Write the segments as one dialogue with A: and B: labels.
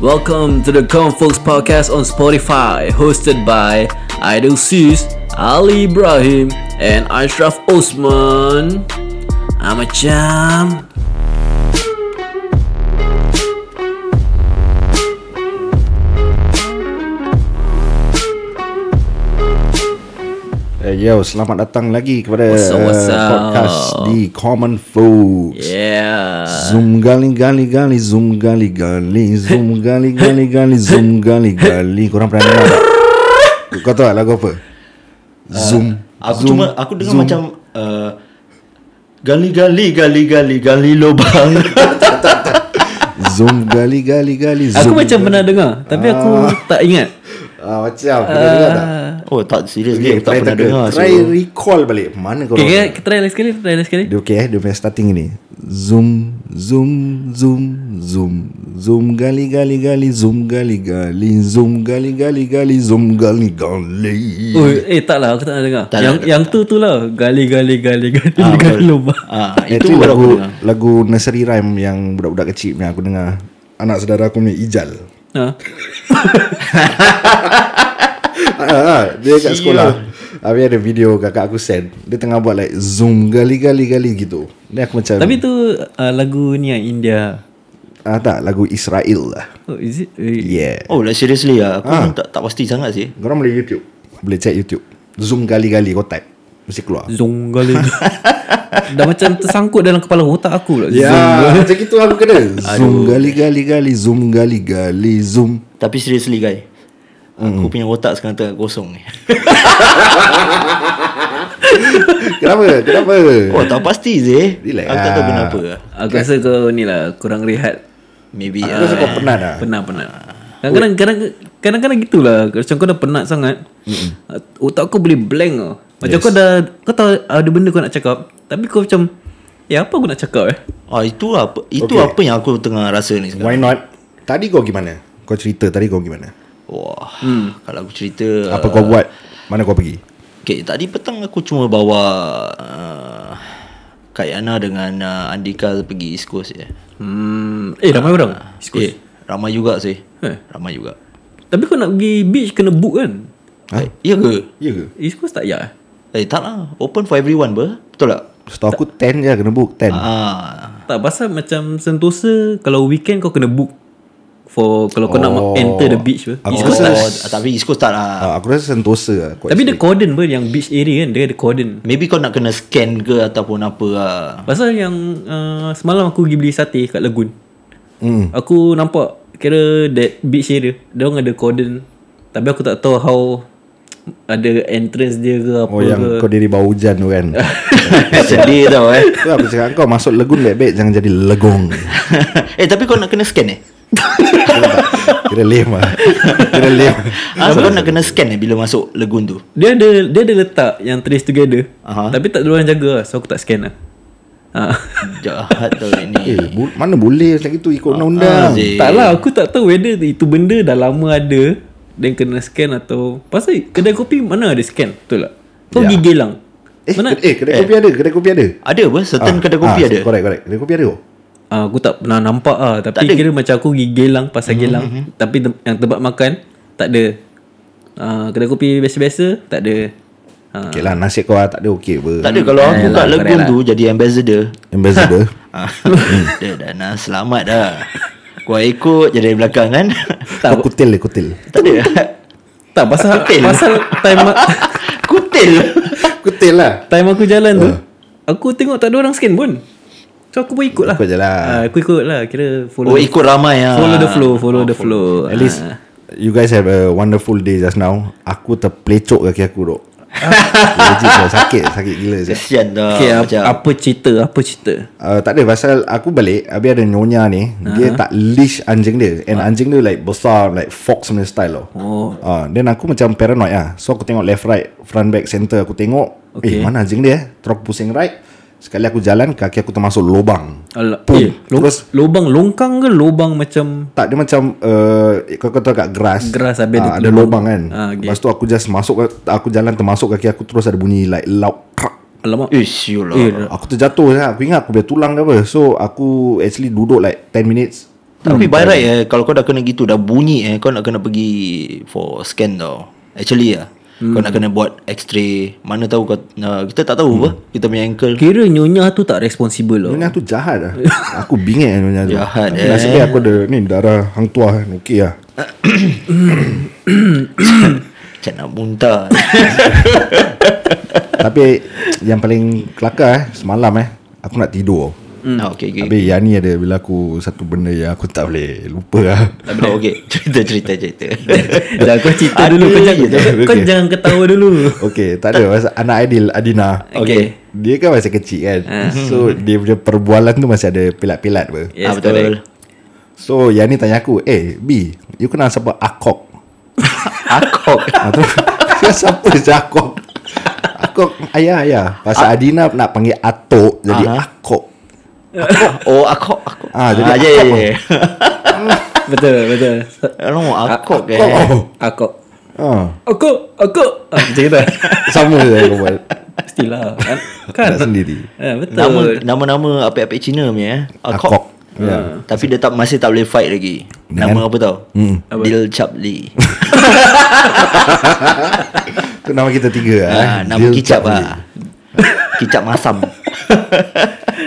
A: Welcome to the Common Folks Podcast on Spotify, hosted by Idol Sis, Ali Ibrahim, and Ashraf Osman. Ah, macam
B: Uh, yo, selamat datang lagi kepada
A: What's up, what's
B: uh,
A: up?
B: podcast di Common Folks.
A: Yeah
B: Zoom gali gali gali zoom gali gali zoom gali gali gali zoom gali gali. Korang pernah dengar tak? Kau tahu tak lagu apa? Zoom.
C: Aku
B: zoom,
C: cuma aku dengar zoom. macam uh, gali gali gali gali gali lubang.
B: zoom gali gali gali zoom.
A: Aku macam pernah dengar Tapi aku tak ingat
B: ah, macam pernah dengar tak?
A: Ah.
C: oh tak serius
B: Okay,
C: okay, aku tak
B: try
C: pernah
B: tak ada.
C: dengar.
B: Try
C: so.
B: recall balik mana kau.
A: Okay, okay kita try lagi sekali Try lagi sekali
B: Dia okey eh Dia punya starting ni Zoom Zoom Zoom Zoom Zoom gali gali gali Zoom gali gali Zoom gali gali gali Zoom gali gali
A: Oh, eh tak lah aku tak nak dengar
C: Tak
A: Yang
C: nak-
A: yang tu tu lah Gali gali gali gali
C: Ah,
A: gali
C: betul.
A: lubang
C: Ah, itu
B: Itu
C: baru aku
B: lagu
C: dengar.
B: Lagu nursery rhyme Yang budak-budak kecil punya Aku dengar Anak saudara aku punya Ijal
A: Ha?
B: Ah, ah, ah, Dia kat sekolah Habis ada video kakak aku send Dia tengah buat like Zoom gali gali gali gitu Dia aku macam
A: Tapi tu uh, lagu ni yang India
B: ah, Tak lagu Israel lah
A: Oh is it? Eh,
B: Yeah
C: Oh like seriously
B: Ah.
C: lah Aku pun tak, tak pasti sangat sih
B: Korang boleh YouTube Boleh check YouTube Zoom gali gali kau type Mesti keluar
A: Zong gali Dah macam tersangkut dalam kepala otak aku lah
B: Ya, macam itu aku kena. Zoom gali gali gali zoom gali gali zoom.
C: Tapi seriously guys Aku
B: Hmm.
C: punya otak sekarang tengah kosong ni
B: Kenapa? Kenapa?
C: Oh tak pasti sih
B: Relax
C: Aku tak tahu
B: lah.
C: kenapa lah.
A: Aku rasa kau ni lah Kurang rehat
C: Maybe
B: Aku rasa
C: ah,
B: kau penat dah.
A: Penat-penat Kadang-kadang kadang- Kadang-kadang gitulah Macam kau dah penat sangat uh, Otak kau boleh blank tau Macam yes. kau dah Kau tahu ada benda kau nak cakap Tapi kau macam Ya apa aku nak cakap eh
C: ah, Itu apa Itu
B: Okay.
C: apa yang aku tengah rasa ni
B: Why
C: sekarang
B: not? Tadi kau gimana? Kau cerita tadi kau gimana?
C: Wah hmm. Kalau aku cerita
B: Apa kau buat? Mana kau pergi?
C: Okay, tadi petang aku cuma bawa uh, Kak Yana dengan uh, Andika pergi East Coast je.
A: hmm, Eh ramai orang East Coast.
C: Eh, ramai juga sih.
A: Eh.
C: Ramai juga.
A: Tapi kau nak pergi beach Kena book kan
B: Ha?
C: Eh, iya ke?
B: Ya ke?
A: East Coast tak payah eh?
C: Eh, tak lah. Open for everyone ber. Betul tak?
B: Setahu aku 10 je lah, kena book 10.
C: Ah,
A: Tak pasal macam Sentosa Kalau weekend kau kena book For Kalau kau nak
B: Oh.
A: enter the beach ber.
B: Aku
A: East
C: East
A: Coast
C: Coast
A: tak
C: tak.
A: ada.
C: Oh, tapi East Coast tak lah.
B: Ah, aku rasa Sentosa lah. Kau
A: Tapi dia cordon ber Yang beach area kan Dia ada cordon
C: Maybe kau nak kena scan ke ataupun apa lah.
A: Pasal yang uh, Semalam aku pergi beli sate Kat Lagoon
B: Hmm.
A: Aku nampak Kira that beach area Dia orang ada cordon Tapi aku tak tahu how Ada entrance dia ke apa
B: Oh yang
A: ke
B: kau diri bau hujan tu kan.
C: Sedih tau eh.
B: Tu lah aku cakap kau masuk legun baik-baik jangan jadi legong.
C: eh, tapi kau nak kena scan eh?
B: Kira lame lah. Kira lame.
C: Ah, kau nak kena scan eh bila masuk lagoon tu?
A: Dia ada Dia ada letak Yang trace together
C: Aha.
A: Tapi tak ada orang jaga lah So aku tak scan lah ha.
C: Jahat tau ni.
B: Eh, bu- mana boleh macam itu ikut undang-undang.
C: Aziz.
A: Tak lah aku tak tahu Whether itu benda dah lama ada Dan kena scan atau Pasal kedai kopi Mana ada scan Betul tak Kau pergi gelang
B: Eh,
A: Mana
B: kedai, eh, kedai kopi ada, kedai kopi ada. Ah,
C: Ada apa? Certain kedai kopi ada?
B: Correct, correct. Kedai kopi ada kok.
A: Ah, aku tak pernah nampak ah tapi kira macam aku pergi Gelang pasar Gelang tapi tem- yang tempat makan tak ada. Ah, kedai kopi biasa-biasa tak ada. Ah,
B: Okay lah, nasib kau tak ada okey apa.
C: Tak ada kalau
A: Yalah,
C: aku kat
A: correct
C: Legun
A: lah.
C: tu jadi ambassador.
B: Ambassador.
C: Ah, Dia dah nak selamat dah. Kau ikut je dari belakang kan.
B: kau kutil dia, kutil.
C: tak ada.
A: lah. tak pasal
C: Kutil.
A: pasal time a-
C: Kutil.
B: kutil lah.
A: time aku jalan tu aku tengok tak ada orang scan pun. So aku pun ikut lah.
B: Ikut je lah.
A: Ah, aku ikut lah kira follow
C: Oh ikut ramai ah.
A: follow the flow, follow the flow.
B: At least,
A: Ah.
B: you guys have a wonderful day just now. Aku terpelecok kaki aku dok. Legit lah, sakit, sakit gila. Siap.
C: Kesian dah.
A: Okay, ap-
C: Ah, macam.
A: apa cerita? Apa cerita?
B: Uh, tak ada pasal aku balik Habis ada nyonya ni Dia tak leash anjing dia And anjing dia like besar Like fox punya style tau
A: Oh.
B: Ah, Then aku macam paranoid lah So aku tengok left right Front back center Aku tengok
A: Okay.
B: Eh mana anjing dia eh Terus aku pusing right Sekali aku jalan Kaki aku termasuk lubang
A: Alah,
B: Pum.
A: eh, lo-
B: Terus
A: lubang longkang ke lubang macam
B: tak dia macam uh, Kau kau tahu kat grass
A: Grass habis ada
B: ah, Ada lubang kan
A: Ah, okay.
B: Lepas tu aku just masuk Aku jalan termasuk kaki aku Terus ada bunyi like loud crack.
A: alamak
C: Ish, yolah.
A: Eh,
B: ya. Aku terjatuh lah Aku ingat aku punya tulang ke apa So aku actually duduk like 10 minutes
C: Tapi
A: hmm.
C: by right eh Kalau kau dah kena gitu Dah bunyi eh Kau nak kena pergi For scan tau Actually lah hmm. Kau nak kena buat X-ray Mana tahu kau uh, Kita tak tahu hmm. apa Kita punya ankle
A: Kira nyonya tu tak responsible lah.
B: Nyonya tu jahat lah Aku bingit kan Nyonya tu
C: Jahat,
B: Tapi
C: eh.
B: Nasib baik aku ada Ni darah hang tua kan Okey lah
C: Macam nak muntah
B: Tapi Yang paling kelakar eh Semalam eh Aku nak tidur
C: hmm. ah, Okay okay
B: Tapi yang ni ada Bila aku Satu benda yang aku tak boleh Lupa lah
C: oh, Okay Cerita cerita cerita
A: Dah kau cerita
C: Ada
A: dulu Kau
C: je
A: jangan,
B: tak?
A: kau
B: Okey.
A: jangan ketawa dulu
B: Okay tak ada Pasal anak Aidil Adina
C: Okay.
B: Dia kan masih kecil kan So dia punya perbualan tu Masih ada pilat-pilat apa
A: Yes,
C: ah, Betul
A: correct.
B: So yang ni tanya aku Eh B You kenal siapa Akok
C: Akok
B: Ah, tu, Siapa si Akok Akok Ayah ayah Pasal Adina nak panggil Atok Jadi
C: Aha.
B: Akok
C: Oh akok akok
B: Ah, jadi
C: ya,
B: akok.
C: ya, ya.
A: Betul betul
C: No akok eh
B: Oh.
A: Aku
B: ah,
A: Aku Aku ah, Macam kita
B: Sama je aku buat
A: Pastilah Kan, kan?
B: Kan sendiri
A: Ah, Betul
C: Nama nama-nama apik-apik Cina punya eh.
B: Akok.
C: Akok. Yeah. Tapi dia tak masih tak boleh fight lagi. Nama apa tau? Hmm. Dil Chap Lee.
B: Tu nama kita tiga ah,
C: ah, nama
B: Dil
C: kicap
B: Chapli.
C: ah. kicap masam.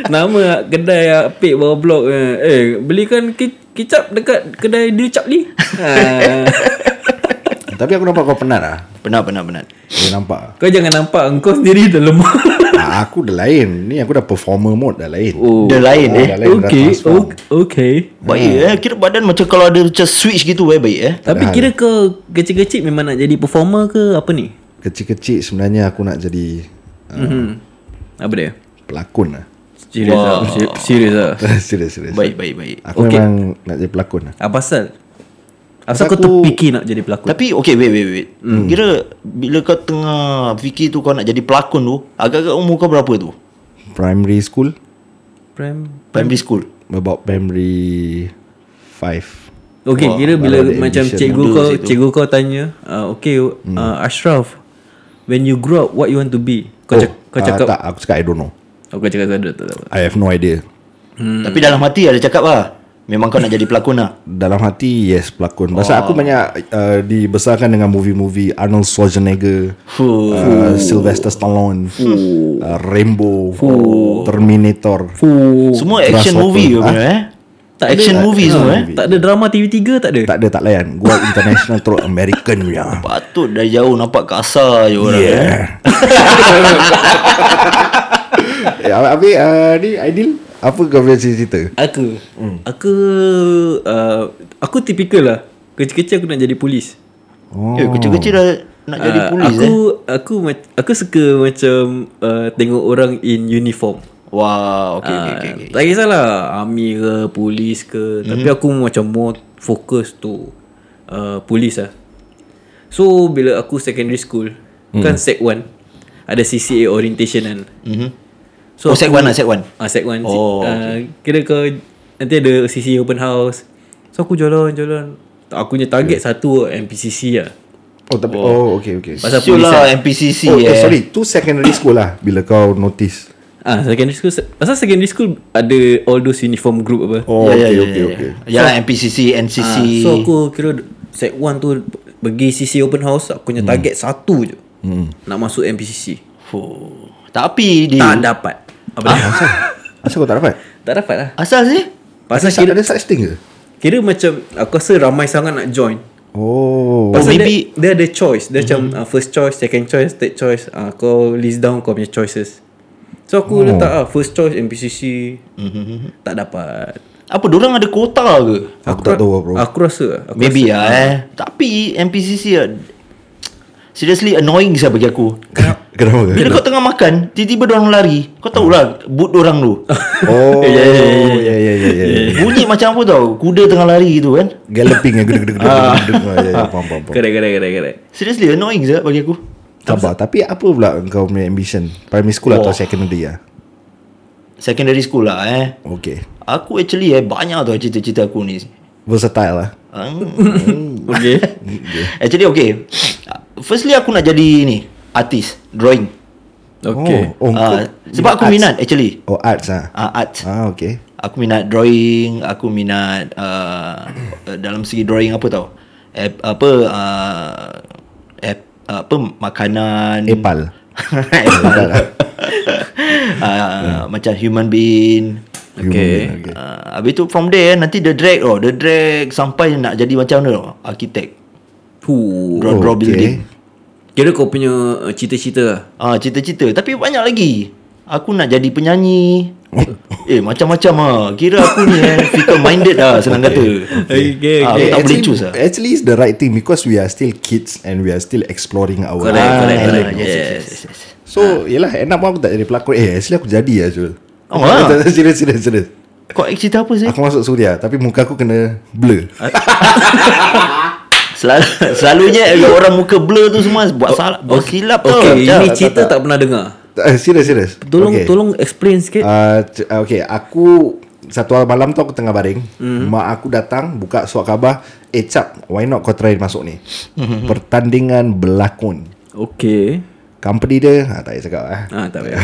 A: Nama kedai apik bawah blok eh, eh belikan ki- kicap dekat kedai Dil Chapli. ha.
B: Tapi aku nampak kau penat lah
C: Penat penat penat.
B: Aku nampak
A: Kau jangan nampak engkau sendiri dah lemah.
B: ah, Aku dah lain Ni aku dah performer mode dah lain
A: Oh.
C: Dia lain eh.
B: dah lain dah
A: okay,
B: transform.
A: okay, okay.
C: Baik eh. Kira badan macam kalau ada macam switch gitu eh baik eh.
A: Tapi kira kau kecil-kecil memang nak jadi performer ke apa ni?
B: Kecil-kecil sebenarnya aku nak jadi uh,
A: Mhm. Apa dia?
B: Pelakon lah
A: Serius wow. ah. Ser- Serius ah.
B: Serius serius
C: Baik baik baik.
B: Aku
A: Okay.
B: memang nak jadi pelakon lah
A: Apa Ah, pasal? Asal kau
B: aku-
A: terfikir nak jadi pelakon?
C: Tapi okay wait wait wait. Hmm. Kira bila kau tengah fikir tu kau nak jadi pelakon tu, agak-agak umur kau berapa tu?
B: Primary school
A: Prime.
C: Primary school.
B: About primary 5
A: Okay,
C: Wah,
A: kira bila
B: baru ada
A: macam
B: ambition
A: cikgu
C: muda
A: kau
C: situ.
A: cikgu kau tanya, uh, okay
B: Hmm.
A: uh, Ashraf, when you grow up what you want to be? Kau, cak, kau
B: ah,
A: cakap
B: Tak aku cakap I don't know
A: Oh, kau cakap kau tak tahu.
B: I have no idea
C: Hmm. Tapi dalam hati ada cakap lah. Memang kau nak jadi pelakon lah.
B: Dalam hati yes pelakon
A: Oh.
B: Pasal aku banyak uh, Dibesarkan dengan movie-movie Arnold Schwarzenegger
C: Fuh.
B: uh, Sylvester Stallone uh, Rambo Terminator Oh,
C: Semua action
B: Grasshopper.
C: movie ke
B: Ah?
C: punya eh
A: Tak
C: Oh, Action
A: ada, Ah,
C: movie semua eh
A: Tak ada drama TV3 tak ada.
B: Tak ada tak layan Gua international terus American ya. punya
C: Patut dari jauh nampak kasar je orang yeah. eh.
B: Yeah. ya, Habis uh, ni Aidil Apa kau punya cerita?
A: Aku
C: Hmm.
A: Aku uh, Aku tipikal lah Kecil-kecil aku nak jadi polis
B: Oh.
C: Eh, kecil-kecil dah nak jadi
A: Ah,
C: polis
A: aku,
C: eh.
A: Aku ma- Aku suka macam uh, Tengok orang in uniform
C: Wah, okey okey
A: Ah,
C: okey. Hmm. Okay.
A: Tak kisahlah Army ke Polis ke mm-hmm. Tapi aku macam more Fokus to uh, Polis lah So bila aku secondary school mm.
C: Hmm.
A: Kan sec 1 Ada CCA orientation kan
C: Mhm.
A: So
C: oh, set one lah, set one.
A: Ah, set one. Oh,
C: Oh,
A: uh, Kira kau nanti ada CC open house. So aku jalan-jalan. Tak, Aku punya target satu MPCC lah.
B: Oh, tapi, oh. oh okay okay
A: Pasal
C: Siul
A: polis
C: lah MPCC
B: Oh,
C: eh.
B: eh, sorry Tu secondary school lah Bila kau notice
A: Ah, secondary school. Pasal secondary school ada all those uniform group apa.
B: Oh
C: Ya,
B: okay
C: ya,
B: okay
C: ya, ya, ya.
B: okay
C: Ya lah MPCC, NCC.
A: Ah, so aku kira set one tu pergi CC open house. Aku punya target satu je. Nak masuk MPCC.
C: Fuh. Tapi di
A: Tak dapat. Apa dia?
B: Asal kau tak dapat?
A: tak dapat lah.
C: asal sih?
A: Pasal
B: Ada,
A: kira,
B: ada such thing ke?
A: kira macam aku rasa ramai sangat nak join.
B: Oh
A: Pasal
C: maybe-
A: dia, dia ada choice Dia mm-hmm. macam uh, First choice Second choice Third choice uh, Kau list down Kau punya choices So aku oh. letak ah First choice MPCC mm-hmm. Tak dapat
C: Apa dorang ada kota ke?
B: Aku tak tahu lah, bro
A: Aku rasa aku rasa,
C: Maybe lah eh. Tapi MPCC lah, seriously annoying saya bagi aku.
B: Kenapa?
C: Bila kau tengah makan Tiba-tiba orang lari Kau tahulah Boot orang tu
B: Oh Ya ya ya ya ya
C: Bunyi macam apa tau Kuda tengah lari gitu kan
B: Galloping ya gedeg gedeg gedeg gedeg gedeg. Ah, ya, ya, Faham faham faham
A: Correct correct correct, correct.
C: Seriously annoying je bagi aku
B: Sabar Tapi apa pula kau punya ambition? Primary school atau secondary lah?
C: Secondary school lah eh
B: Okay
C: Aku actually eh Banyak tau cita-cita aku ni
B: Versatile lah
C: Hmm.
A: Okay
C: Actually okay Firstly aku nak jadi ni Artis Drawing
A: Okay
B: Oh, oh
C: Ah,
B: kau-
C: Sebab aku
B: arts.
C: minat actually
B: Oh arts ah.
C: Ah, Art
B: Ah okay.
C: Aku minat drawing, aku minat uh, dalam segi drawing apa tau? App, apa uh, app, apa makanan
B: Epal.
C: uh, macam human being
A: Okay.
C: okay. Uh, habis tu from there nanti dia drag oh dia drag sampai nak jadi macam mana tau, architect
A: Huh.
C: draw draw
B: Okay.
C: building
A: Kira kau punya uh, cita-cita lah.
C: Ah, cita-cita. Tapi banyak lagi. Aku nak jadi penyanyi. eh, macam-macam ah. Kira aku ni eh, fickle minded lah senang kata.
A: Okay,
C: Ah,
A: okay.
C: aku tak boleh
B: Eh, actually,
C: choose lah.
B: actually it's the right thing because we are still kids and we are still exploring our
A: Correct,
B: Ah,
A: correct,
C: Ah,
A: correct.
C: yes, yes, yes, yes, yes.
B: So yelah Enak pun aku tak jadi pelakon Eh actually aku jadi lah Syul
C: Oh, ah.
B: Serius serius serius
C: Kau act cerita apa sih?
B: Aku masuk suria Tapi muka aku kena blur
C: Ah. Selalu, selalunya orang muka blur tu semua buat salah, buat silap Oh, tau.
A: Okay,
C: Macam-
A: ini cerita tak pernah dengar.
B: Eh, Serius serius
A: Tolong
B: Okay.
A: okay. Ah. tolong explain sikit.
B: Uh, c- uh, okay, aku satu hari malam tu aku tengah baring.
A: Hmm.
B: Mm-hmm. Mak aku datang buka surat khabar, "Eh cap, why not kau try masuk ni?"
A: Hmm.
B: Mm-hmm. Pertandingan berlakon.
A: Okay.
B: Company dia, ha, tak payah cakap ah.
A: Ah, tak payah.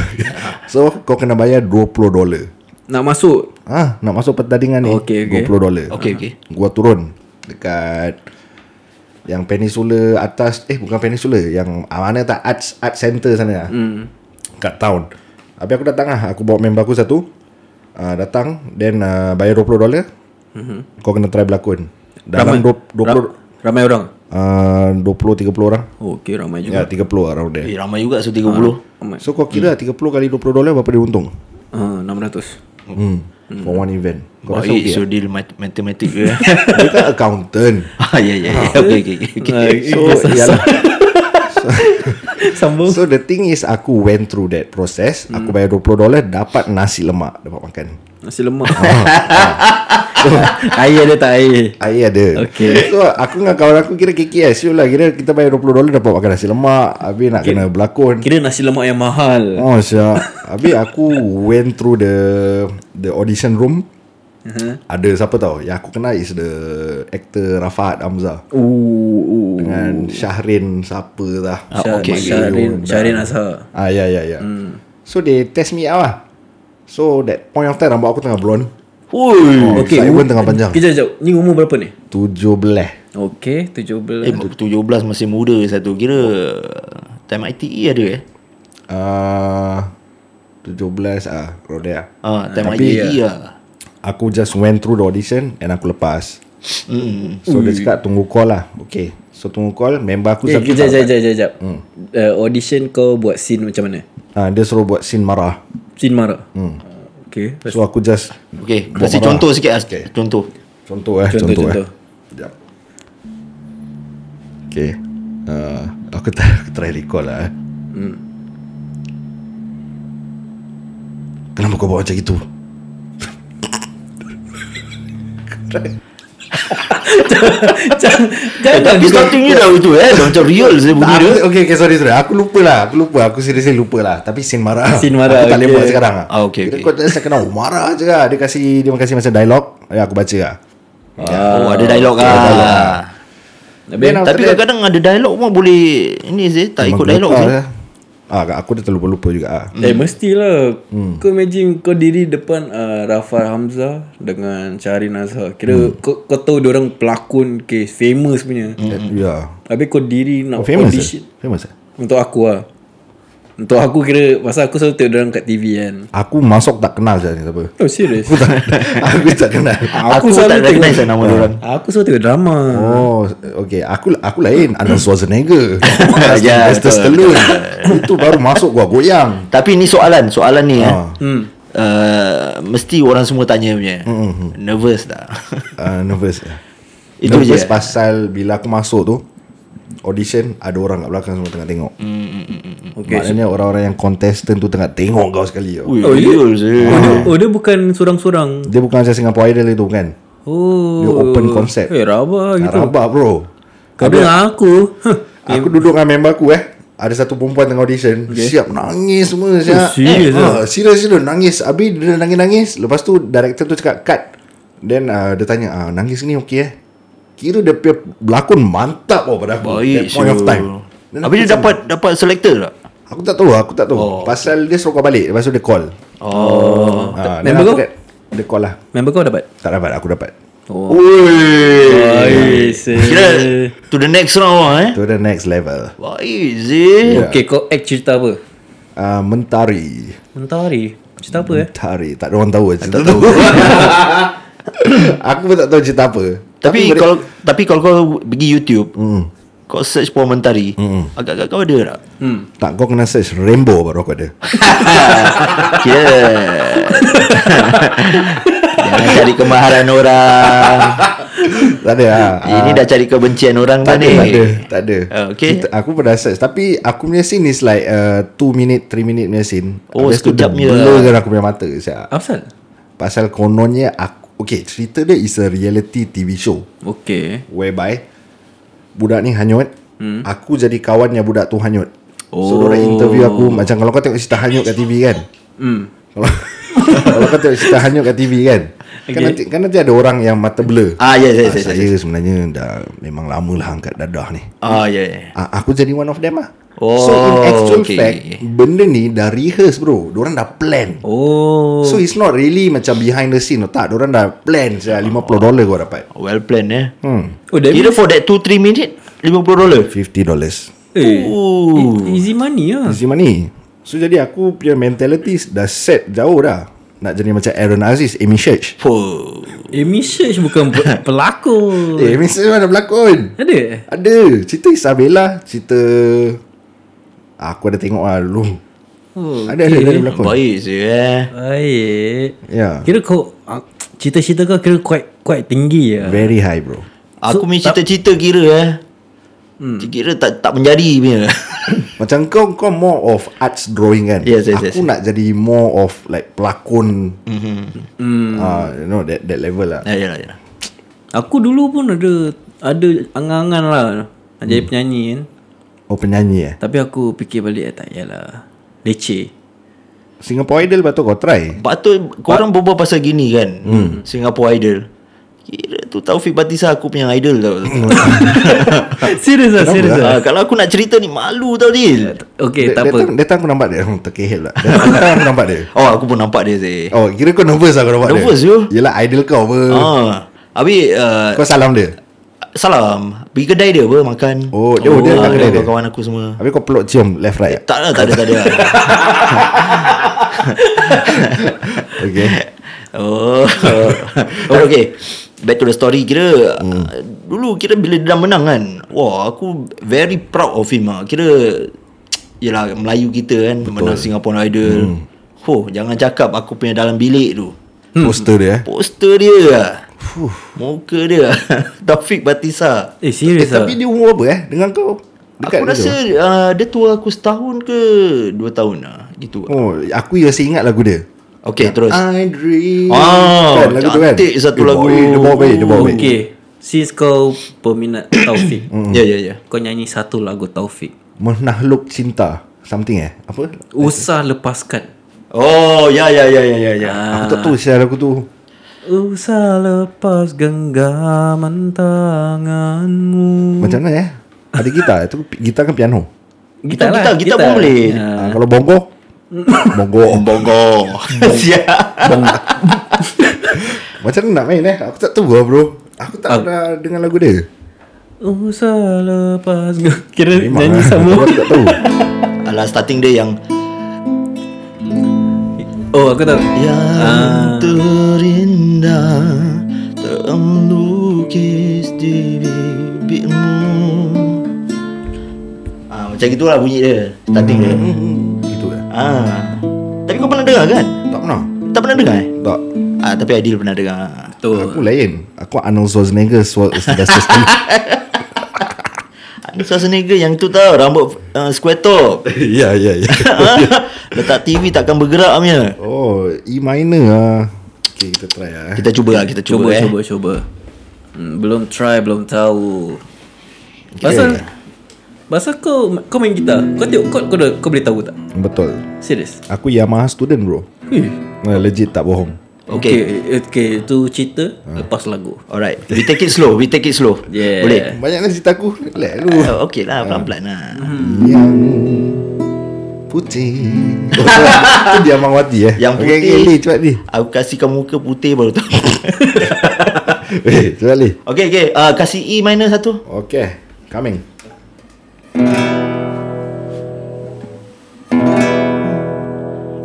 B: so kau kena bayar 20 dolar.
A: Nak masuk.
B: Ah, nak masuk pertandingan ni
A: Okay, okay.
B: 20 dolar.
C: Okay, okay.
B: Gua turun dekat yang peninsula atas eh bukan peninsula yang ah, mana tak arts art center sana lah. Hmm. Kat town. Habis aku datang lah aku bawa member aku satu. Uh, datang then uh, bayar 20 dolar. Mm-hmm. Kau kena try berlakon.
A: Ramai-
B: Dalam 20 20
A: Ramai orang.
B: uh, 20 30 orang.
A: Oh, okay, ramai juga.
B: Ya, 30 around there.
C: Eh, ramai juga so 30.
A: Ramai.
B: So kau kira hmm. 30 kali 20 dolar berapa dia untung?
A: Ah, 600.
B: Hmm. Oh, For one event. Kau rasa
C: Baik,
B: okey?
C: so eh, deal mat- matematik dia.
B: Dia kan accountant.
C: ah, ya, ya, ya. Okay, okay, okay.
A: Ah,
B: So, ialah
A: Sambung.
B: So the thing is Aku went through that process hmm. Aku bayar 20 dolar Dapat nasi lemak Dapat makan
A: Nasi lemak. air ada tak air?
B: Air ada
A: Okay.
B: So aku dengan kawan aku Kira KKS Sure lah Kira kita bayar 20 dolar Dapat makan nasi lemak Habis nak kena berlakon
A: Kira nasi lemak yang mahal.
B: Oh syak Habis aku Went through the The audition room
A: Uh-huh.
B: Ada siapa tau Yang aku kenal is the Actor Rafaat Hamzah
A: Ooh, ooh.
B: Dengan Syahrin Siapa lah
C: Ah, okay, okay.
B: Oh,
A: Syarin, Syarin Azhar.
B: Ah ya ya ya. So they test me out lah. So that point of time rambut aku tengah blonde.
C: Ui.
B: Oh, okay. Simon
A: umur-
B: tengah panjang.
A: Kejap, kejap. Ni umur berapa ni?
B: 17.
A: Okay, 17.
C: Eh, 17 masih muda satu. Kira time ITE ada eh?
B: Ah uh, 17 ah, around there. ah.
C: Ah, time
B: Tapi-
C: ITE lah.
B: Aku just went through the audition and aku lepas.
C: Mm.
B: So dia cakap tunggu call lah. Okay. So tunggu call member aku
A: Eh,
B: satu
A: kejap,
B: tak-
A: kejap, kejap, kejap. Hmm. Uh, audition kau buat scene macam mana?
B: Ah dia suruh buat scene marah.
A: Scene marah? Hmm. Okay.
B: So aku just
C: Okay,
B: Buat
C: kasih
B: marah.
C: contoh sikit lah. Okay. Contoh.
B: contoh eh
A: Contoh,
B: contoh,
A: contoh.
B: eh. Sekejap. Okay. Uh, aku try, aku try recall lah eh. Kenapa kau buat macam itu?
A: Jangan,
C: Eh,
A: jangan.
C: tapi starting ni dah itu eh. Dah macam real saya bunyi
B: Tak,
C: dia.
B: aku, okay, okay, sorry, sorry. Aku lupa lah. Aku lupa. Aku seriously lupa lah. Tapi sin marah.
A: Scene marah,
B: Aku tak boleh
A: okay.
B: buat sekarang lah.
C: Ah, okay,
B: Kira
C: okay.
B: Kau tak saya kena marah je lah. Dia kasi, dia kasi macam dialog. Ya, aku baca lah.
C: Oh, ada dialog lah.
A: Habis,
B: Then
C: Tapi
B: after that-
C: kadang-kadang ada dialog pun boleh ini sih tak Eh, ikut dialog
B: lah.
C: sih.
B: Ah, aku dah terlupa-lupa juga ah.
A: Eh mestilah
B: Hmm.
A: Kau imagine Kau diri depan uh, Rafal Hamzah Dengan Syahrin Azhar Kira
B: Hmm.
A: kau, kau tahu orang pelakon okay, Famous punya
B: Ya.
A: Habis kau diri Nak
B: Oh, famous eh?
A: audition
B: Famous eh?
A: Untuk aku lah Untuk aku kira Pasal aku selalu tengok orang kat TV kan
B: Aku masuk tak kenal je ni siapa.
A: Oh serius
B: Aku tak, aku tak kenal.
C: Aku, tak recognize lah nama dia orang.
A: Ah, Aku selalu tengok drama
B: Oh, okay. Aku aku lain Arnold Schwarzenegger.
C: Ya,
B: ya, Sylvester
C: betul,
B: Stallone. Itu baru masuk gua goyang.
C: Tapi ni soalan, soalan ni eh.
B: Ah.
C: Hmm. Uh, mesti orang semua tanya punya.
B: Mm-hmm.
C: Nervous tak?
B: Uh, nervous.
C: Itu
B: Itu nervous
C: je.
B: pasal bila aku masuk tu audition ada orang kat belakang semua tengah tengok.
C: Mm,
A: Okay so,
B: Maknanya orang-orang yang contestant tu tengah tengok kau sekali. tau.
C: Ui, eh.
A: Oh, ya?
C: real sih.
A: oh, dia- oh dia bukan Surang-surang
B: Dia bukan macam Singapore Idol itu kan.
A: Oh
B: Dia open concept.
A: Eh
C: Oh,
A: rabak
B: Gitu.
A: gitu
B: Rabak bro.
A: Kau dengan aku Huh.
B: Aku duduk dengan member aku eh. Ada satu perempuan tengah audition okay. Siap nangis semua siap.
A: serious
B: eh, ah, Serius serius nangis Habis dia nangis-nangis Lepas tu director tu cakap cut Then uh, dia tanya ah, Nangis ni okey eh Kira dia punya berlakon mantap oh, pada aku That
C: Baik.
B: point of
C: sure.
B: time Then
C: Habis
B: aku
C: dia dapat dapat selector tak?
B: Aku tak tahu, aku tak tahu. Oh. Pasal dia suruh kau balik, lepas tu dia call.
C: Oh.
B: Ha,
A: member kau?
B: That, ada call lah
A: Member kau dapat?
B: Tak dapat aku dapat
A: Oh.
C: Oi.
A: Ais, eh.
C: Kira to the next round lah eh.
B: To the next level
C: Baik
B: Ya.
C: Zee.
A: Okay, kau act cerita apa?
B: uh, Mentari
A: Mentari. Cerita apa eh?
B: Mentari Tak ada orang tahu cerita tu Aku pun tak tahu cerita apa
C: Tapi
B: boleh-
C: kalau tapi kalau kau pergi YouTube,
B: Hmm.
C: kau search Puan Mentari, agak-agak kau ada tak?
B: Tak kau kena search Rainbow baru aku ada
C: Kira Jangan cari kemaharan orang
B: Tak ada lah
C: Ini dah cari kebencian orang dah
B: Tak ada,
C: ni
B: tak ada, tak ada.
C: Ah, okay.
B: Kita, aku pernah search tapi aku punya scene is like 2 uh, minit 3 minit punya scene.
C: Oh,
B: Habis tu dia
C: sekejap je.
B: Blur kan aku punya mata siap.
A: Apa pasal?
B: Pasal kononnya aku Okay cerita dia is a reality TV show
A: Okay.
B: whereby budak ni hanyut hmm. aku jadi kawannya budak tu hanyut. Oh. So diorang interview aku macam kalau kau tengok cerita hanyut kat TV kan.
A: Hmm.
B: Kalau kalau kau tengok cerita hanyut kat TV kan. Okay. Kan
A: Okay.
B: nanti kan nanti ada orang yang mata blur.
C: Ah yes yes
B: Ah,
C: yes, yes.
B: saya sebenarnya dah memang lama lah angkat dadah ni.
C: Ah ya ya
B: Ah, aku jadi one of them lah.
C: Oh,
B: so in actual
C: okay.
B: fact, benda ni dah rehearse bro. Diorang dah plan.
A: Oh.
B: So it's not really macam behind the scene. Tak, diorang dah plan.
C: Oh.
B: Saya $50 dollar kau dapat.
C: Well planned eh
B: Hmm.
A: Oh, that
C: Kira for that 2-3 minute 50 dollar
B: $50 dollars.
A: Eh,
C: Ooh.
A: e- easy money lah.
B: Easy money. So jadi aku punya mentality dah set jauh dah. Nak jadi macam Aaron Aziz, Amy Church.
C: Oh.
A: Amy Search bukan pe- pelakon.
B: Eh, Amy Church mana berlakon?
A: Ada?
B: Ada. Cerita Isabella. Cerita... Aku ada tengok lah dulu.
A: Oh.
B: Ada, ada, ada, ada berlakon.
C: Baik sih eh
A: Baik.
B: Ya.
A: Kira kau, ah, cita-cita kau kira quite, quite tinggi lah.
B: Very high bro.
C: Aku punya cita-cita kira eh
B: Hmm.
C: Kira tak tak menjadi punya
B: Macam kau kau more of arts drawing kan.
C: Yes, yes,
B: aku
C: yes.
B: nak jadi more of like pelakon. Mm-hmm. Uh, you know that that level lah.
C: Ya ya ya
A: Aku dulu pun ada ada angan-angan lah nak jadi penyanyi kan.
B: Oh penyanyi eh.
A: Tapi aku fikir balik eh, tak yalah. Leceh.
B: Singapore Idol patut kau try.
C: Patut korang berbual pasal gini kan
B: Hmm.
C: Singapore Idol Kira tu Taufik Batisah aku punya idol tau
A: serius lah, serius lah.
C: Ah, Kalau aku nak cerita ni malu
B: Ya,
C: tau Dil
A: Okay,
B: That-
A: tak
B: that
A: apa.
B: time- That time aku nampak dia. Hmm, terkehel lah. That that time aku nampak dia.
C: Oh aku pun nampak dia sih
B: Oh kira kau nervous lah kau nampak dia.
C: Eh. Nervous, you.
B: Yelah idol kau apa.
C: Ah, Habis uh,
B: Kau salam dia.
C: Salam Pergi kedai dia apa makan
B: Oh, dia- oh, dia kat kedai dia?
C: Kawan aku semua
B: Habis kau peluk cium left right.
C: Tak lah tak ada tak ada
B: Okay.
C: Oh, oh. Okay Back to the story Kira hmm. Dulu kira bila dia dah menang kan Wah aku Very proud of him lah Kira Yelah Melayu kita kan Betul. Menang Singapore Idol hmm. Oh jangan cakap Aku punya dalam bilik tu
B: Poster dia eh.
C: Poster dia lah Muka dia ah. Taufik Batisa
A: Eh,
B: eh
A: serius lah.
B: tapi dia umur apa eh? Dengan kau? Dekat
C: Aku
B: ke
C: rasa
B: tu?
C: uh, Dia tua aku setahun ke Dua tahun lah Gitu
B: Oh, aku masih ingat lagu dia.
C: Okay terus
B: I dream.
C: Ah,
B: Kan, lagu tu kan?
C: cantik satu
B: Dia
C: lagu.
B: bawa- eh, Dia bawa baik, dia bawa baik.
A: Okay. Since kau peminat Taufik,
C: Ya ya ya
A: kau nyanyi satu lagu Taufik.
B: Menahluk cinta Something eh Apa
A: Usah lepaskan.
C: Oh ya ya ya ya ya ya
B: Aku tak tahu siapa aku tu
A: Usah lepas genggaman tanganmu.
B: Macam mana eh Ada gitar Itu gitar kan piano
C: Gitar,
A: lah,
C: gitar, gitar pun boleh.
A: Ya.
B: ha, Kalau bongo Bongo
C: Ah, Bongo Siap
B: Macam mana nak main eh Aku tak tahu lah bro Aku
C: Ah.
B: tak pernah dengar lagu dia
A: Usah lepas geng- Kira
B: Memang
A: nyanyi
B: lah.
A: sama
B: Aku tak tahu
C: Alah starting dia yang
A: Oh aku tahu
C: Yang terindah Terlukis di bibirmu ah, Macam gitulah bunyi dia Starting dia
B: Gitu lah
C: ah. Tapi kau pernah dengar kan?
B: Tak pernah
C: Tak pernah dengar eh?
B: Tak
C: Ah, tapi Adil pernah dengar
A: Betul
B: Aku lain Aku Arnold Schwarzenegger Swar- Schwarzenegger
C: Ada Schwarzenegger yang tu tau Rambut uh, square top
B: Ya ya ya
C: Letak TV takkan bergerak punya
B: Oh E minor lah Okay kita try lah eh.
C: Kita cuba lah Kita
A: Cuba
C: cuba, eh.
A: cuba cuba hmm, Belum try belum tahu Pasal Pasal kau Kau main gitar Kau tengok kau, kau, dah, kau boleh tahu tak
B: Betul
A: Serius
B: Aku Yamaha student bro
A: Eh.
B: Nah, Legit tak bohong
A: Okay Okay, okay. eh, Itu cerita Lepas lagu
C: Alright We take it slow We take it slow
A: Yeah.
C: Boleh
B: Banyaklah cerita aku Relax dulu
A: Mm-hmm.
C: Oh, okay lah pelan-pelan lah
B: Yang putih Itu dia Amang Wati eh
C: Yang
B: Okey,
C: putih
B: okey, Lee cepat Lee
C: Aku kasih kau muka putih baru tahu
B: Weh, Eh, Cepat Lee
C: Okay okay uh, Kasih E minor satu
B: Okay Coming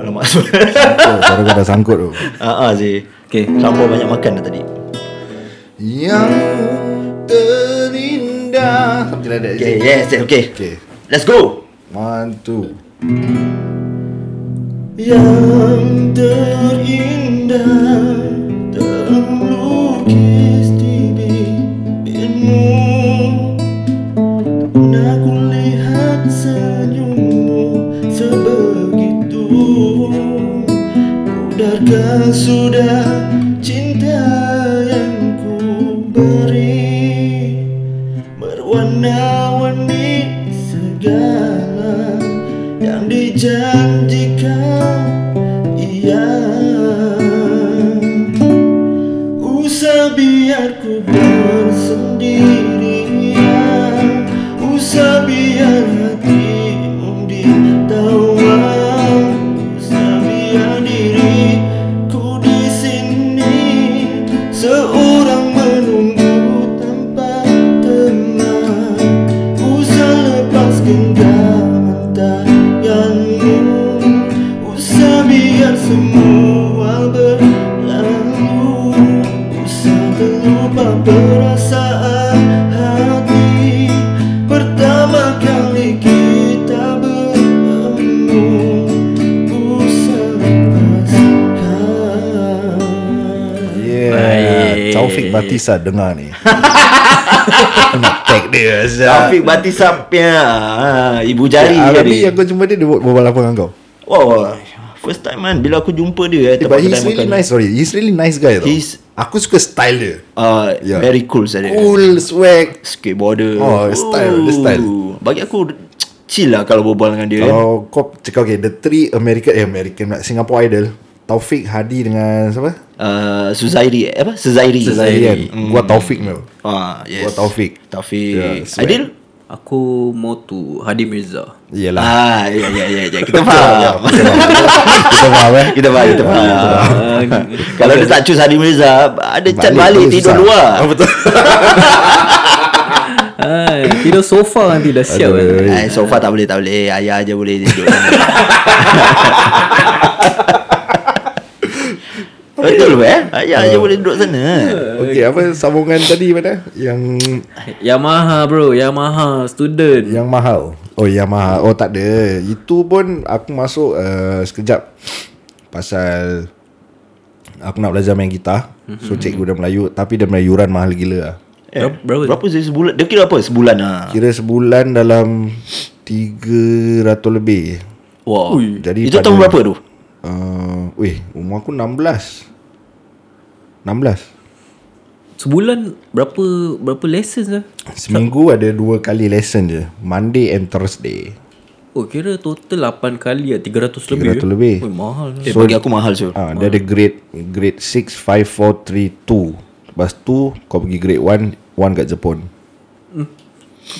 C: Alamak sorry
B: Sangkut, Suara kau dah sangkut tu
C: Ah ah sih
A: Okay.
C: Lampau banyak makan dah tadi
B: Yang terindah Something like that is
C: Okay
B: it?
C: yes yes, okay
B: Okay
C: Let's go
B: One, two
C: Yang terindah Terlukis di bibirmu Dan aku lihat senyummu Sebegitu Kudarkah sudah cinta yang ku beri Berwarna-warni segala Yang dijanjikan Ia Usah biar ku bersendirian Usah biar hatimu ditawa Usah biar diriku di sini Seorang menunggu tanpa teman Usah lepas genggaman tanganmu Usah biar semua berlalu Usah terlupa perasaan hati Pertama kali kita bertemu Usah lepaskan
B: Yeah
A: Baik.
B: Taufik Batisa dengar ni Nak tag dia Zah.
C: Taufik Batisap ya. Ha, Ibu jari
B: Ah,
C: ya,
B: Hari ni
C: dia.
B: yang kau jumpa dia Dia berbual apa dengan kau
C: Wow, first time man bila aku jumpa dia eh,
B: Eh,
C: tempat
B: but he's
C: kedai
B: really
C: makan.
B: nice sorry. He's really nice guy tau.
C: He's-
B: Aku suka style dia.
C: Uh,
B: Yeah.
C: very cool saja.
B: Cool, swag.
C: Skateboarder.
B: Ya. Oh, style, dia style.
C: Bagi aku chill lah kalau berbual dengan dia. Oh.
B: Kalau kau cakap okay, the three American eh American pula, Singapore Idol. Taufik Hadi dengan siapa?
C: Uh, Suzairi eh, apa? Suzairi. Hmm.
B: kan. Gua Taufik mel.
C: Ah, yes.
B: Gua Taufik. Ya,
C: Taufik.
B: Yeah,
C: Yeah,
B: swag.
C: Adil.
A: Aku mau tu Hadi Mirza.
B: Iyalah.
C: Ah, ya ya ya ya. Kita faham.
B: Kita faham eh.
C: Kita faham, kita faham. Kalau dia tak choose Hadi Mirza, ada cat balik
B: terus susah. Ah,
C: tidur luar.
B: betul.
A: Hai, tidur sofa nanti dah siap.
B: Aduh.
A: kan.
C: Eh, sofa tak boleh, tak boleh. Ayah aja boleh tidur. Betul eh? Ayah
B: Ah.
C: aja boleh duduk sana.
B: Okey, apa sambungan tadi mana? Yang
A: Yamaha bro, Yamaha student.
B: yang mahal. Oh, yang mahal. Oh, tak ada. Itu pun aku masuk uh, sekejap pasal aku nak belajar main gitar.
C: Mhm.
B: So cikgu dia Melayu, tapi dia Melayuran mahal gila lah.
C: Eh,
A: Berapa- berapa?
C: Berapa sih sebulan? Dia kira apa? Sebulan lah.
B: Kira sebulan dalam 300 lebih.
C: Wow.
A: Ui.
B: Jadi
C: Itu
B: pada-
C: tahun berapa tu?
B: Uh, weh, umur aku 16. 16.
A: Sebulan berapa berapa lessons lah?
B: Seminggu ada dua kali lesson je. Monday and Thursday.
A: Oh kira total 8 kali lah 300 lebih
B: 300 lebih.
A: Ui, mahal lah.
C: Eh, bagi aku mahal tu.
B: Ah, dia ada grade grade 6, 5, 4, 3, 2. Lepas tu kau pergi grade 1, 1 kat Jepun.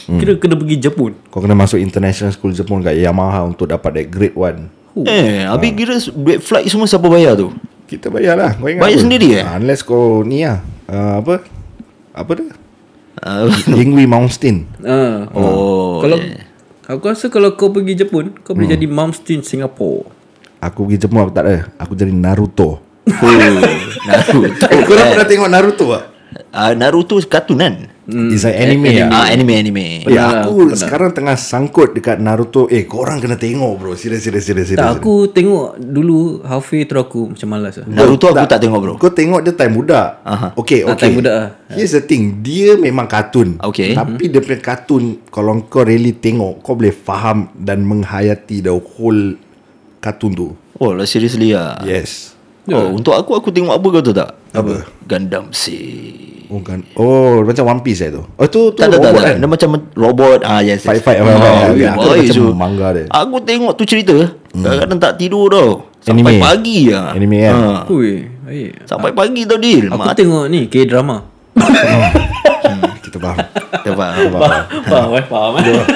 A: Kira kena pergi Jepun
B: Kau kena masuk international school Jepun kat Yamaha untuk dapat that grade 1.
C: Eh,
B: Ah.
C: habis kira duit flight semua siapa bayar tu?
B: Kita bayar lah. Kau ingat
C: Bayar
B: apa?
C: sendiri eh?
B: Ah, unless kau ni lah. Ah, apa? Apa dia?
C: Uh,
B: Yingwei Mountain.
A: ha.
C: Oh,
A: Kalau Aku rasa kalau kau pergi Jepun Kau boleh jadi Malmsteen Singapore
B: Aku pergi Jepun aku tak ada. Aku jadi Naruto.
C: Naruto.
B: Eh, korang pernah tengok Naruto tak?
C: Ah, Naruto kartun kan?
B: It's an anime.
C: Eh,
B: ya.
C: Ah, anime anime.
B: Ya, aku sekarang tengah sangkut dekat Naruto. Eh, korang kena tengok bro. Serius, serius, serius. serius.
A: Tak aku tengok dulu Halfway tu aku macam malas lah
C: Naruto aku tak tengok bro.
B: Kau tengok dia time budak.
C: Aha.
B: Okay,
A: Ah,
B: okay.
A: time budak lah.
B: Here's the thing. Dia memang kartun.
C: Okay. Mhm.
B: Tapi dia punya kartun, kalau kau really tengok, kau boleh faham dan menghayati the whole kartun tu.
C: Oh, lah seriously ah.
B: Yes.
C: Oh, untuk aku aku tengok apa kau tahu tak?
B: Apa?
C: Gundam Seed.
B: Oh, kan. oh macam One Piece eh tu. Oh, tu, tu
C: Tak tak tak,
B: robot
C: tak.
B: kan?
C: Dia macam robot ah yes. yes.
B: Fight-fight apa
C: Ah,
B: apa.
C: okay.
B: Aku
C: Boy,
B: macam
C: so,
B: manga dia. Hmm.
C: Aku tengok tu cerita, kadang-kadang tak tidur tau. Sampai
B: Anime.
C: pagi ah.
B: Anime kan?
C: Ah,
A: Ui eh, baik
C: Sampai pagi tau deal.
A: Aku
C: Mat-
A: tengok ni K-drama
B: Kita faham.
C: Dia faham.
A: Faham, faham, eh, faham. eh.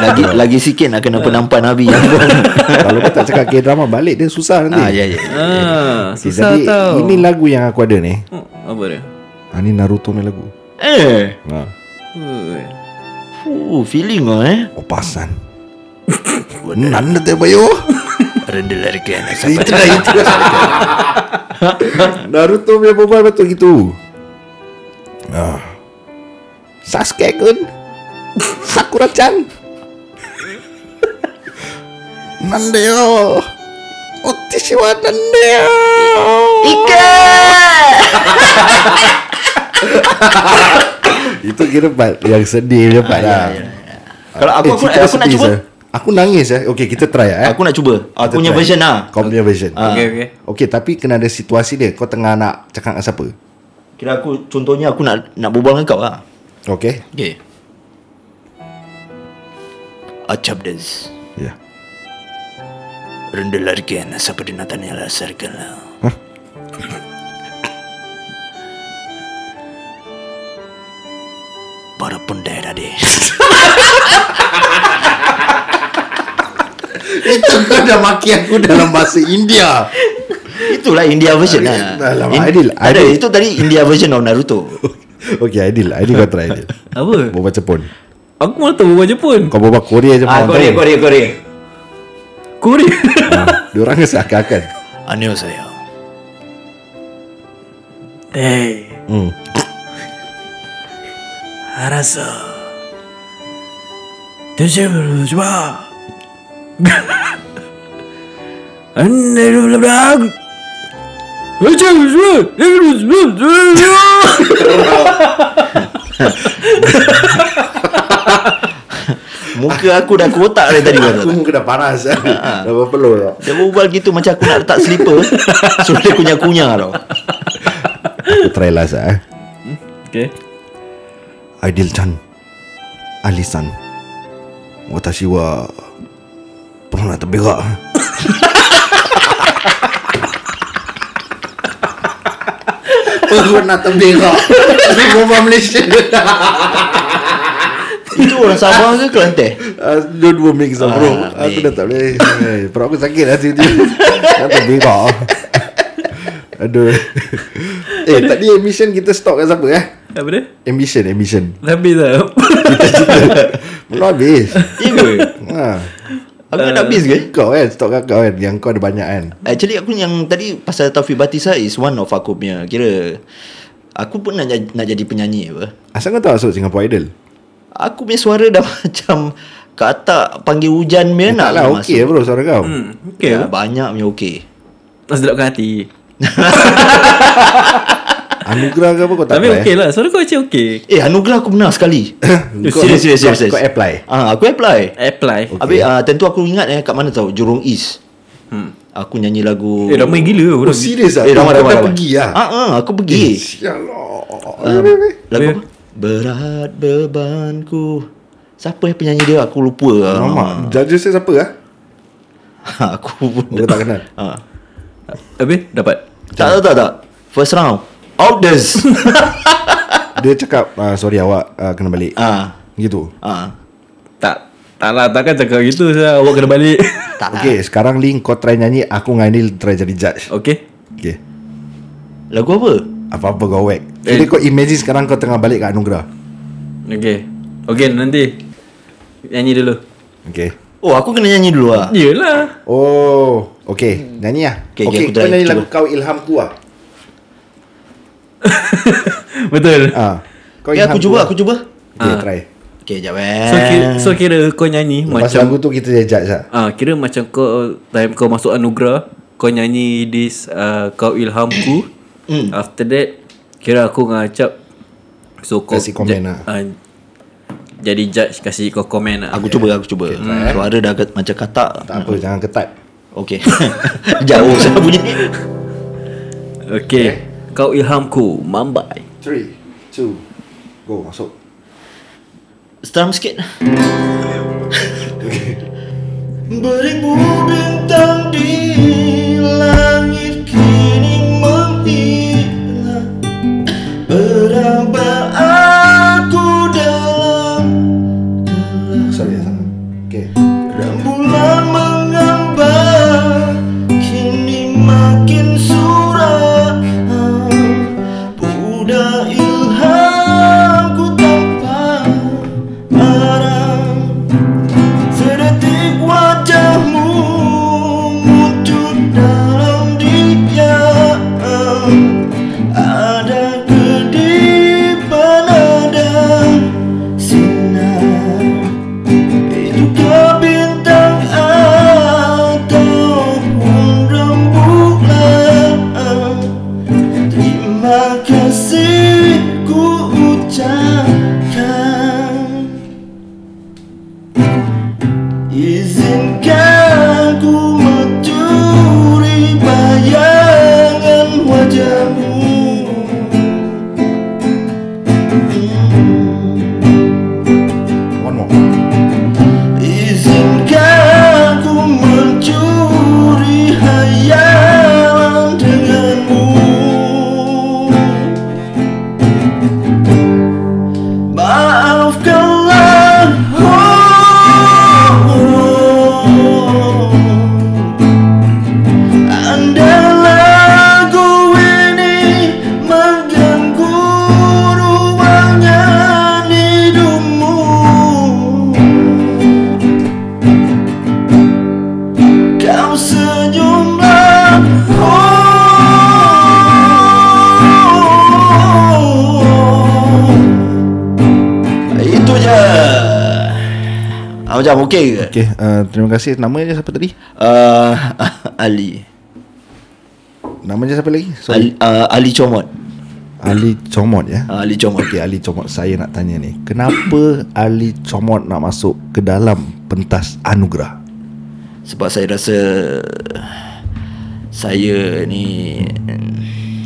C: lagi lagi sikit nak kena penampan Nabi yang
B: Kalau kau tak cakap K-drama Balik dia susah nanti
C: Ah ya ya.
A: Ah,
B: Okay,
A: susah
B: eh, jadi,
A: tau.
B: Ini lagu yang aku ada ni
A: Oh, apa dia?
B: ha, Ni Naruto ni lagu
C: Eh,
B: ha.
A: Ui.
C: uh, feeling ah eh.
B: Opasan Nanda terbayo
C: Rendah lah kan. dari kena
B: Itu dah itu Naruto punya perempuan betul gitu ah. Sasuke kun Sakura-chan Nande yo Otishi wa nande yo
C: Ika. Kan?
B: Itu kira part yang sedih punya part lah
C: Ah, ya,
B: Eh,
C: Kalau aku aku,
B: cerita
C: aku, nak
B: sedih,
C: cuba.
B: sir. Aku nangis eh Okay kita try eh
C: Aku nak cuba.
B: Kita
C: Aku punya
B: try.
C: version ah.
B: Kau punya version
C: Ah.
A: Okay, okay.
B: Okay tapi kena ada situasi dia Kau tengah nak cakap dengan siapa
C: Kira aku contohnya aku nak nak berbual dengan kau ah.
B: Okay
C: Okay. Achabdes.
B: Ya yeah.
C: rendelarken sapdinataniya sarkala para pendera de
B: Itu kau dah maki aku dalam bahasa India
C: itulah India version lah
B: Alamak,
C: In-
B: Aidil,
C: tak ada,
B: Aidil.
C: itu tadi India version of Naruto
B: Okay Aidil Aidil kau try Aidil
A: Apa?
B: Kau baca pun
A: Aku mana tahu berbual Jepun.
B: Kau bawa Korea je
C: ah
B: orang tahu.
C: Korea Korea Korea
A: Korea.
B: Ah, Diorang seakan-akan
C: Ah, annyeonghaseyo
A: Hey,
B: hmm.
A: haraso. Tujuh cuba. Anda belum dah. Tujuh cuba. Tujuh cuba.
C: muka aku dah kotak dari tadi kau tahu
B: Aku
C: tak?
B: muka dah panas eh. Dah berpeluh tau
C: dia berbual gitu macam aku nak letak slipper suruh dia kunyah-kunyah tau
B: Aku try last lah eh.
A: Okay.
B: Aidil Chan Alisan Watashi wa Pernah terberak Pernah terberak Ini berapa Malaysia
C: itu orang Sabah ke Kelantan
B: Uh, dua-dua mix lah bro
C: Ah,
B: Aku
C: baik.
B: dah tak boleh Hai, Perut aku sakit lah, hati dia Nak terberak Aduh Eh tadi ambition kita stop kat siapa eh
A: Apa dia?
B: Ambition ambition
A: Habis dah.
B: Belum habis
C: iya ke
B: ha.
C: aku nak habis ke
B: Kau kan Stok kat kau kan Yang kau ada banyak kan
C: Actually aku yang tadi pasal Taufik Batisa is one of aku punya kira aku pun nak jadi, nak jadi penyanyi apa.
B: Asal kau tahu masuk Singapore Idol
C: Aku punya suara dah macam katak panggil hujan
B: Tak
C: punya nak
B: lah okey bro suara kau
A: Hmm, okay.
C: Okay. Ya, banyak punya okey.
A: Mas delapkan hati.
B: Anugerah ke apa kau tak
A: Tapi
B: apply,
A: okey
B: eh?
A: lah. Suara kau macam okey.
C: Eh anugerah aku pernah sekali.
B: Kau-
C: serius serius
B: kau-
C: serius. serius.
B: Kau apply
C: Ah aku apply.
A: Apply.
B: Oh.
C: Okay. Habis ah, tentu aku ingat eh kat mana tahu Jurong East.
A: Hmm.
C: Aku nyanyi lagu
A: Eh ramai gila
B: Oh
A: orang.
B: serius ah lah.
C: Eh ramai
B: Kau
C: ramai.
B: dah
C: ramai.
B: pergi lah
C: Ah ah aku pergi.
B: Sialah
C: Lagu
A: Dia-
C: apa? Berat bebanku Siapa yang penyanyi dia Aku lupa lah.
B: Lama Judges dia siapa ah
C: ha, Aku pun
B: Kau tak kenal
C: ha.
A: Habis dapat.
C: Tak tak tak tak First round Outdoors
B: Dia cakap ah, Sorry awak ah, Kena balik
C: ha.
B: Gitu
C: ha.
A: Tak tak lah takkan cakap gitu saya awak kena balik.
C: Tak lah
B: Okay sekarang Link kau try nyanyi Aku dengan Anil try jadi judge
A: Okey.
B: Okay
C: Lagu apa?
B: Apa-apa kau whack
A: Eh.
B: Jadi kau imagine sekarang kau tengah balik kat Anugerah
A: Okey. Okey nanti nyanyi dulu.
B: Okay
C: Oh aku kena nyanyi dulu lah
A: Yelah
B: Oh Okay Nyanyi lah
C: Okay,
B: Okay, okay,
C: okay, aku try,
B: kau nyanyi
C: cuba.
B: lagu Kau Ilhamku lah
A: Betul.
B: ah. Kau
C: Okay Ya, Eh, aku
B: ilhamku
C: cuba
B: lah.
C: aku cuba
B: Okay
A: Ah.
B: try
C: Okay jap
A: So kira,
C: eh
A: so kira kau nyanyi
B: Lepas
A: macam
B: lagu tu kita jadi judge lah
A: ah kira macam kau time kau masuk anugerah kau nyanyi this uh, kau ilhamku.
C: Hmm.
A: After that kira aku ngacap so kau
B: Kasih komen lah.
A: ah, jadi judge kasih kau komen lah.
C: Aku cuba aku cuba Suara dah kat- macam katak
B: Tak apa jangan ketat
C: Okay Jauh saya bunyi Eh.
A: Okey. Kau ilhamku mambai.
B: 3 2 Go masuk
C: Seteram sikit Beribu bintang di langit kini menghilang Berapa aku dalam
B: ya,
C: oh, Oh. Ah, macam okay ke? Okay.
B: Okay uh, Terima kasih Nama dia siapa tadi?
C: Uh, Ali.
B: Nama dia siapa lagi? Sorry.
C: Ali, uh, Ali Comot.
B: Ali Comot ya
C: Uh, Ali Comot.
B: Okay Ali Comot Saya nak tanya ni Kenapa Ali Comot nak masuk Ke dalam pentas anugerah
C: Sebab saya rasa saya ni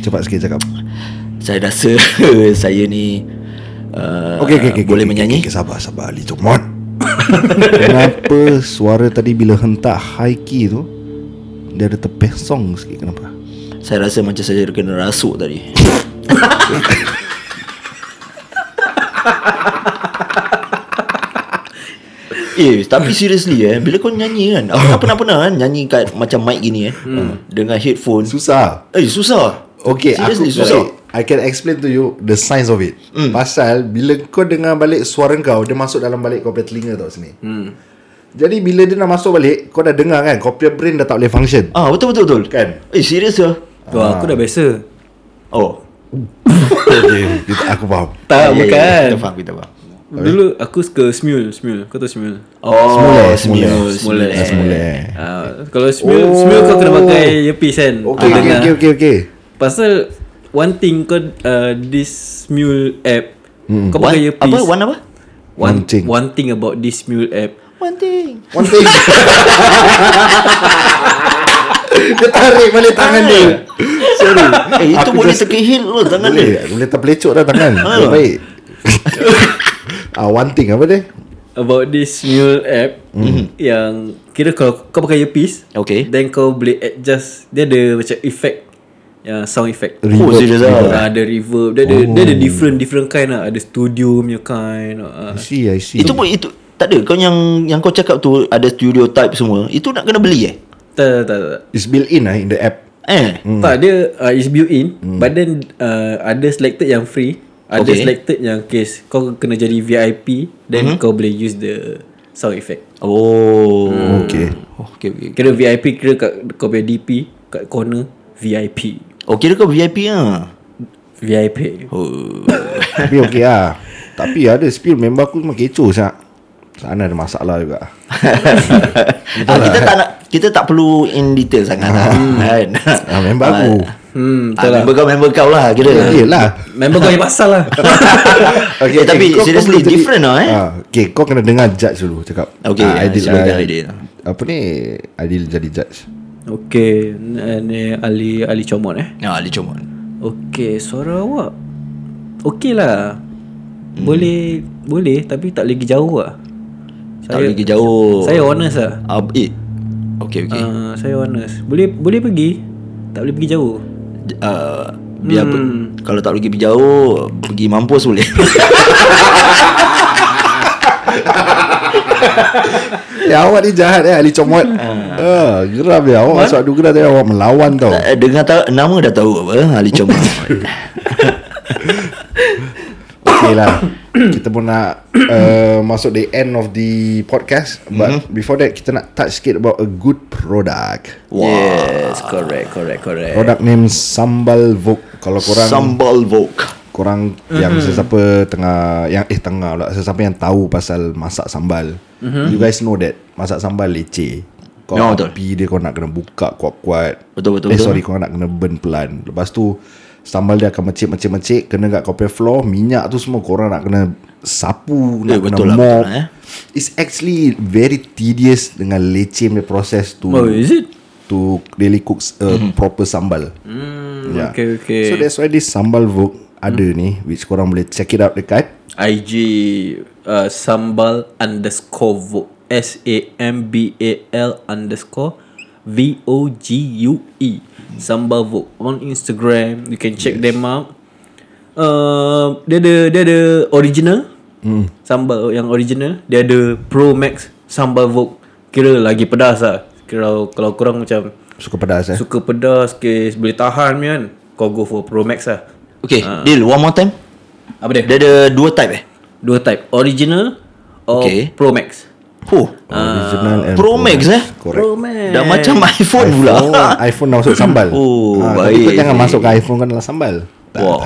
B: Cepat sikit cakap
C: Eh, saya rasa saya ni uh,
B: Okey, okey, okey,
C: boleh
B: okey,
C: menyanyi.
B: okey, okey, sabar, sabar Ali Comot Kenapa suara tadi bila hentak high key tu Dia ada terpesong sikit kenapa?
C: Saya rasa macam saya kena rasuk tadi. Eh tapi seriously eh Bila kau nyanyi kan Aku tak pernah-pernah kan Nyanyi kat macam mic gini eh
B: Hmm.
C: Dengan headphone
B: Susah
C: Eh susah
B: Okay
C: Seriously
B: aku,
C: susah Hmm.
B: okay, I can explain to you The science of it mm. Pasal Bila kau dengar balik suara kau Dia masuk dalam balik kau punya telinga tau sini
C: Hmm.
B: mm. Jadi bila dia nak masuk balik Kau dah dengar kan Kau punya brain dah tak boleh function
C: Ah betul betul betul
B: Kan?
C: Eh serius lah
A: Wah, aku dah biasa.
C: Oh
B: okay, kita- Aku faham
A: Tak,
C: Ya, ya, ya,
A: Ah, bukan.
C: Kita faham kita faham
A: Dulu aku suka Smule, Smule. Kau tahu Smule?
B: Semula,
C: Oh Semula Semula
A: Semula.
B: Semula
A: eh. Ah, kalau Smule,
B: Oh.
A: Smule kau kena pakai earpiece kan.
B: Okay,
A: Ah,
B: okay,
A: dengar.
B: okay, okay, okay.
A: Pasal one thing kau uh, this Smule app, kau
C: One,
A: pakai
C: apa?
A: earpiece.
C: One apa?
B: Hmm. One thing.
A: One thing about this Smule app.
C: One thing
B: One thing Dia tarik balik tangan dia Sorry
C: Eh itu
B: Aku
C: boleh
B: just-
C: terkehil lo tangan
B: Boleh
C: dia
B: Boleh terpelecok dah tangan Baik, Baik ah, One thing apa dia
A: about this new app
B: Hmm.
A: mm. yang kira kalau kau pakai earpiece
C: Mm-hmm. Okay.
A: then kau boleh adjust dia ada macam effect uh, sound effect
B: Reverb,
C: Oh, serious ah?
A: Ah, ada reverb dia ada oh. dia ada different different kind lah ada studio punya kind uh,
B: I see I see
C: Itu pun itu tak ada kau yang yang kau cakap tu ada studio type semua. Itu nak kena beli eh?
A: tak tak tak, tak.
B: It's built in lah in the app
C: Eh.
A: Mm. tak dia uh, is built in mm. but then uh, ada selected yang free ada
C: Hmm. Okay. Hmm.
A: okay. selected yang case kau kena jadi VIP then mm-hmm. kau boleh use the sound effect
C: Oh.
A: Hmm.
B: Okay
C: Oh, okay, okay.
A: kira VIP kira kat kau punya DP kat corner VIP
C: Oh, kira kau VIP ah.
A: VIP
C: Oh.
B: Tapi okay lah Tapi ada spill member aku memang kecoh sah Sana ada masalah juga
C: ah, kita tak nak kita tak perlu in detail sangat lah, kan.
B: ah, Member aku
A: hmm Ya.
C: Ah, member kau member kau lah kira.
B: Yelah
A: Member kau yang pasal lah
C: Eh, tapi
B: kau- kau
C: seriously,
B: boleh jadi-
C: different lah, eh.
B: Ah, okay, kau kena dengar judge dulu cakap.
C: Okay,
B: Ah,
C: yeah,
B: Aidil
C: sorry,
B: lah.
C: Aidil.
B: Apa ni? Adil jadi judge.
A: Okay n- Ni Ali Ali Comot eh
C: Ya, Ali cuma.
A: Okay Suara awak Okay lah
C: Hmm.
A: Boleh Boleh Tapi tak boleh pergi jauh lah
C: Tak pergi jauh.
A: Saya honest lah
C: Ah, eh. Ah. Okay, okay.
A: uh, Saya honest Boleh boleh pergi Tak boleh pergi jauh
C: Uh, biar pe- kalau tak pergi pergi jauh, pergi mampus boleh.
B: Eh, awak ni jahat eh, Ali Comot. Ah, geram ya. Awak masuk adu geram tadi awak melawan tau.
C: Tak, Dengar tak nama dah tahu apa Ali Chong
B: Okay lah. kita pun nak uh, masuk the end of the podcast.
C: Mhm.
B: But before that, kita nak touch sikit about a good product.
C: Wow.
A: Yes Correct Correct correct
B: Product name Sambal Vok. Kalau korang
C: Sambal Vok
B: korang
A: Mhm.
B: yang sesiapa tengah yang eh tengah pula sesiapa yang tahu pasal masak sambal.
A: Mhm.
B: You guys know that masak sambal leceh. Kau no,
C: No, betul.
B: api dia kau nak kena buka kuat-kuat.
C: Betul, betul,
B: Eh
C: betul.
B: sorry kau nak kena burn pelan. Lepas tu sambal dia akan mecik-mecik-mecik kena kat kau punya floor, minyak tu semua korang nak kena sapu,
C: Eh,
B: nak kena
C: betul lah,
B: mop.
C: betul lah, eh.
B: It's actually very tedious dengan leceh punya proses tu
A: Oh is it
B: to really cook a
C: Mhm.
B: proper sambal. Mm,
A: okay, okay.
B: So that's why this sambal wok ada ni which korang boleh check it out dekat
A: IG uh, Sambal underscore Vog S-A-M-B-A-L underscore V-O-G-U-E E. Sambal Vog On Instagram You can check yes. them out uh, Dia ada Dia ada original mm. Sambal yang original Dia ada Pro Max Sambal Vog Kira lagi pedas lah Kira kalau korang macam
B: suka pedas eh.
A: Suka pedas Kes boleh tahan ni kan Kau go for Pro Max lah
C: Okay uh. Deal one more time
A: Apa dia?
C: Dia ada dua type eh
A: Dua type Original Or
C: Okay.
A: Pro Max
C: Huh
B: Original and
C: Pro Max eh
B: Correct.
A: Max
C: Dah macam iPhone pula
B: Oh, iPhone dah masuk sambal.
C: Oh,
B: Ah, tapi
C: baik.
B: Kau jangan masuk ke iPhone kan dalam sambal. Tak.
C: Wah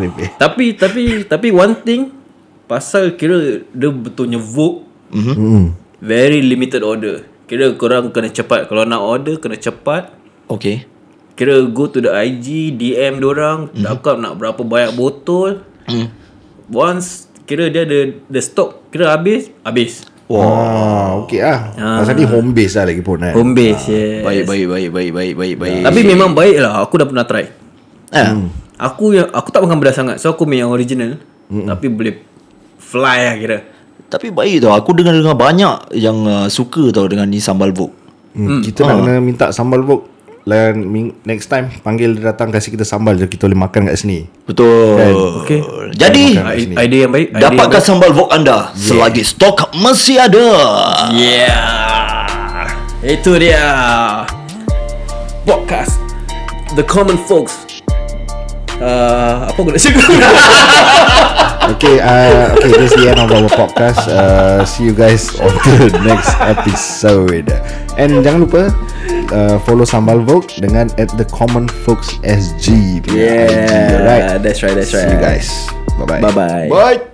B: Lebih.
A: Tapi Tapi Tapi one thing Pasal kira Dia betulnya Vogue mm-hmm.
B: Hmm.
A: Very limited order Kira korang kena cepat Kalau nak order Kena cepat
C: Okay
A: Kira go to the IG DM dorang mm-hmm. Cakap nak berapa banyak botol mm. Once Kira dia ada The stock Kira habis Habis
B: Wah, ah, okey lah. Pasal ni home base lah lagi pun kan.
A: Home base yeah.
C: Baik baik baik baik baik baik baik
A: Tapi memang baik lah Aku dah pernah try
C: Ya. ah.
A: Aku yang Aku tak makan pedas sangat So aku main yang original mm Tapi boleh Fly lah kira
C: Tapi baik tau Aku dengar-dengar banyak Yang uh, suka tau Dengan ni sambal vok
B: Hmm, kita
C: Ah.
B: nak kena minta sambal wok. Dan ming- next time panggil dia datang kasih kita sambal je kita boleh makan kat sini.
C: Betul
B: Kan?
A: Okey.
C: Jadi
A: I- Idea yang baik idea
C: Dapatkan sambal vok anda Selagi stok masih ada
A: Yeah. Itu dia. Podcast The Common Folks. Uh, apa aku nak cakap?
B: Okay, uh, okay, that's the end of our podcast. Uh, see you guys on the next episode. And jangan lupa uh, follow Sambal Vogue dengan at the Common Folks SG. punya IG,
A: yeah.
B: alright?
A: That's right. That's
B: See
A: right.
B: you guys. Bye bye.
A: Bye bye.
C: Bye